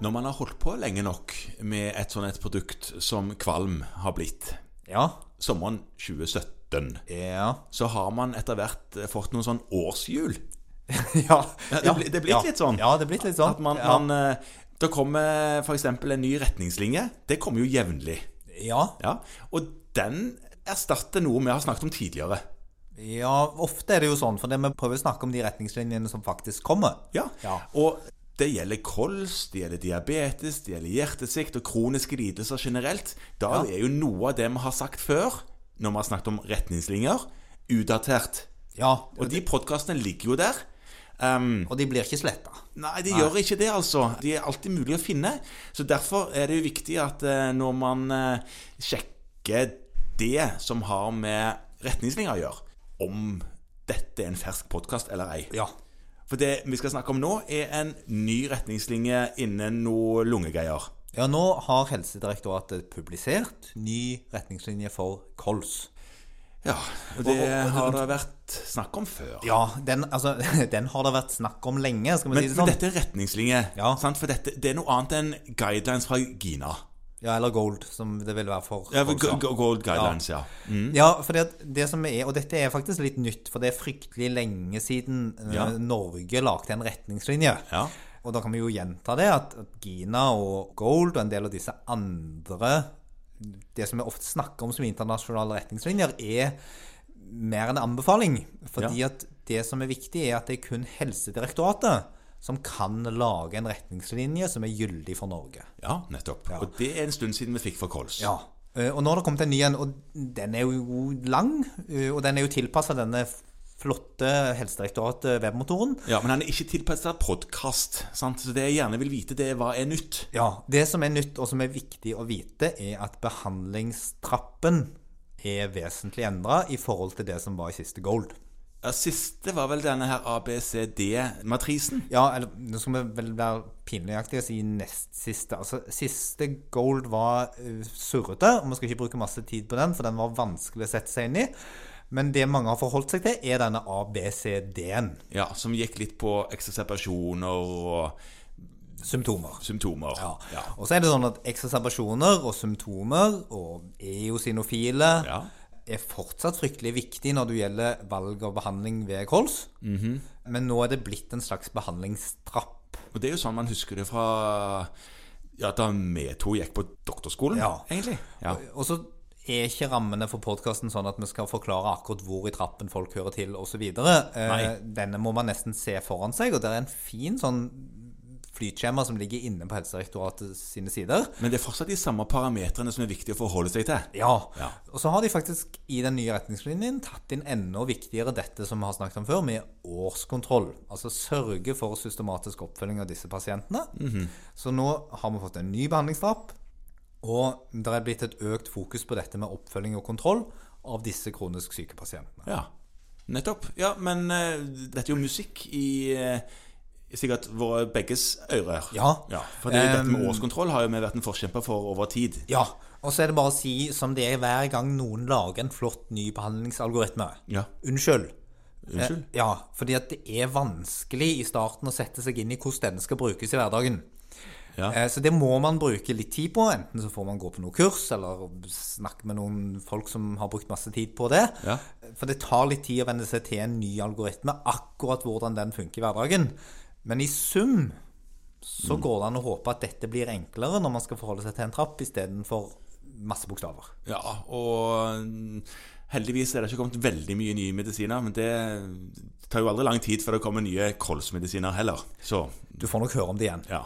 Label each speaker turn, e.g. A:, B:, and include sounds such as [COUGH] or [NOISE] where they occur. A: Når man har holdt på lenge nok med et sånn et produkt som kvalm har blitt,
B: Ja.
A: sommeren 2017,
B: Ja.
A: så har man etter hvert fått noen sånn årshjul.
B: [LAUGHS] ja.
A: Ja, det blir- det blir
B: ja.
A: litt sånn.
B: Ja, det er blitt litt sånn.
A: At man,
B: ja.
A: man eh, Da kommer f.eks. en ny retningslinje. Det kommer jo jevnlig.
B: ja.
A: Ja. Og den erstatter noe vi har snakket om tidligere.
B: ja, ofte er det jo sånn, for det vi prøver å snakke om de retningslinjene som faktisk kommer.
A: Ja.
B: Ja.
A: Og det gjelder kols, det gjelder diabetes, det gjelder hjertesvikt og kroniske lidelser generelt. Da
B: Ja.
A: er jo noe av det vi har sagt før, når vi har snakket om retningslinjer, utdatert.
B: Ja,
A: Og de podkastene ligger jo der. Um,
B: og de blir ikke sletta.
A: Nei, de gjør ikke det, altså. De er alltid mulig å finne. Så derfor er det jo viktig at eh, når man eh, sjekker det som har med retningslinjer å gjøre, om dette er en fersk podkast eller ei.
B: Ja.
A: For det vi skal snakke om nå, er en ny retningslinje innen noe lungegreier.
B: Ja, nå har Helsedirektoratet publisert ny retningslinje for kols.
A: Ja, og det har det vært snakk om før.
B: Ja, den, altså, [LAUGHS] den har det vært snakk om lenge, skal vi
A: Men,
B: si det
A: men
B: sånn.
A: dette er retningslinjer,
B: Ja.
A: sant? for dette, det er noe annet enn guidelines fra Gina.
B: Ja, eller gold, som det vil være for
A: Ja,
B: kols. ja.
A: gu- gu- Gold guidelines, ja.
B: Ja, for det, det som er, og dette er faktisk litt nytt, for det er fryktelig lenge siden eh,
A: Ja.
B: Norge lagde en retningslinje.
A: Ja.
B: Og da kan vi jo gjenta det, at, at Gina og Gold og en del av disse andre Det som vi ofte snakker om som internasjonale retningslinjer, er mer en anbefaling. Fordi
A: Ja.
B: at det som er viktig, er at det er kun Helsedirektoratet som kan lage en retningslinje som er gyldig for Norge.
A: Ja, nettopp. Og det er en stund siden vi fikk for kols.
B: Ja. Eh, Og nå har det kommet en ny en, og den er jo lang. eh, Og den er jo tilpassa denne flotte Helsedirektoratet-webmotoren.
A: Ja, Men han er ikke tilpassa podkast, sant? så det jeg gjerne vil vite, det er hva er nytt.
B: Ja. Det som er nytt, og som er viktig å vite, er at behandlingstrappen er vesentlig endra i forhold til det som var i siste Gold.
A: Ja, Siste var vel denne her ABCD-matrisen.
B: Ja, eller nå skal vi vel være pinligaktige og si nest siste. Altså, siste gold var eh, surrete, og vi skal ikke bruke masse tid på den, for den var vanskelig å sette seg inn i. Men det mange har forholdt seg til, er denne ABCD-en.
A: Ja, som gikk litt på eksacerbasjoner og
B: Symptomer.
A: symptomer.
B: Ja. Og så er det sånn at eksacerbasjoner og symptomer og eosinofile
A: Ja.
B: er fortsatt fryktelig viktig når det gjelder valg av behandling ved kols.
A: Mhm.
B: Men nå er det blitt en slags behandlingstrapp.
A: Og det er jo sånn man husker det fra ja, da vi to gikk på doktorskolen,
B: Ja.
A: egentlig. Ja.
B: Og så er ikke rammene for podkasten sånn at vi skal forklare akkurat hvor i trappen folk hører til osv.
A: Nei.
B: Eh, Denne må man nesten se foran seg, og det er en fin sånn flytskjema som ligger inne på Helsedirektoratet sine sider.
A: Men det er fortsatt de samme parametrene som er viktige å forholde seg til.
B: Ja.
A: Ja.
B: Og så har de faktisk i den nye retningslinjen tatt inn enda viktigere dette som vi har snakket om før, med årskontroll. Altså sørge for systematisk oppfølging av disse pasientene. Så nå har vi fått en ny behandlingstrapp, og det er blitt et økt fokus på dette med oppfølging og kontroll av disse kronisk syke pasientene.
A: Ja, nettopp. Ja, men eh, dette er jo musikk i eh, sikkert våre begges ører.
B: Ja.
A: for det, er jo dette med
B: Ehm.
A: årskontroll har jo vi vært en forkjemper for over tid.
B: Ja, og så er det bare å si som det er hver gang noen lager en flott ny behandlingsalgoritme.
A: Ja.
B: Unnskyld.
A: Unnskyld?
B: Eh, Ja, fordi at det er vanskelig i starten å sette seg inn i hvordan denne skal brukes i hverdagen.
A: Ja.
B: Eh, Så det må man bruke litt tid på. Enten så får man gå på noe kurs, eller snakke med noen folk som har brukt masse tid på det.
A: Ja.
B: For det tar litt tid å venne seg til en ny algoritme, akkurat hvordan den funker i hverdagen. Men i sum så
A: Mm.
B: går det an å håpe at dette blir enklere når man skal forholde seg til en trapp istedenfor masse bokstaver.
A: Ja, og mm, heldigvis er det ikke kommet veldig mye nye medisiner, men det tar jo aldri lang tid før det kommer nye kolsmedisiner heller. Så,
B: Du får nok høre om det igjen.
A: ja.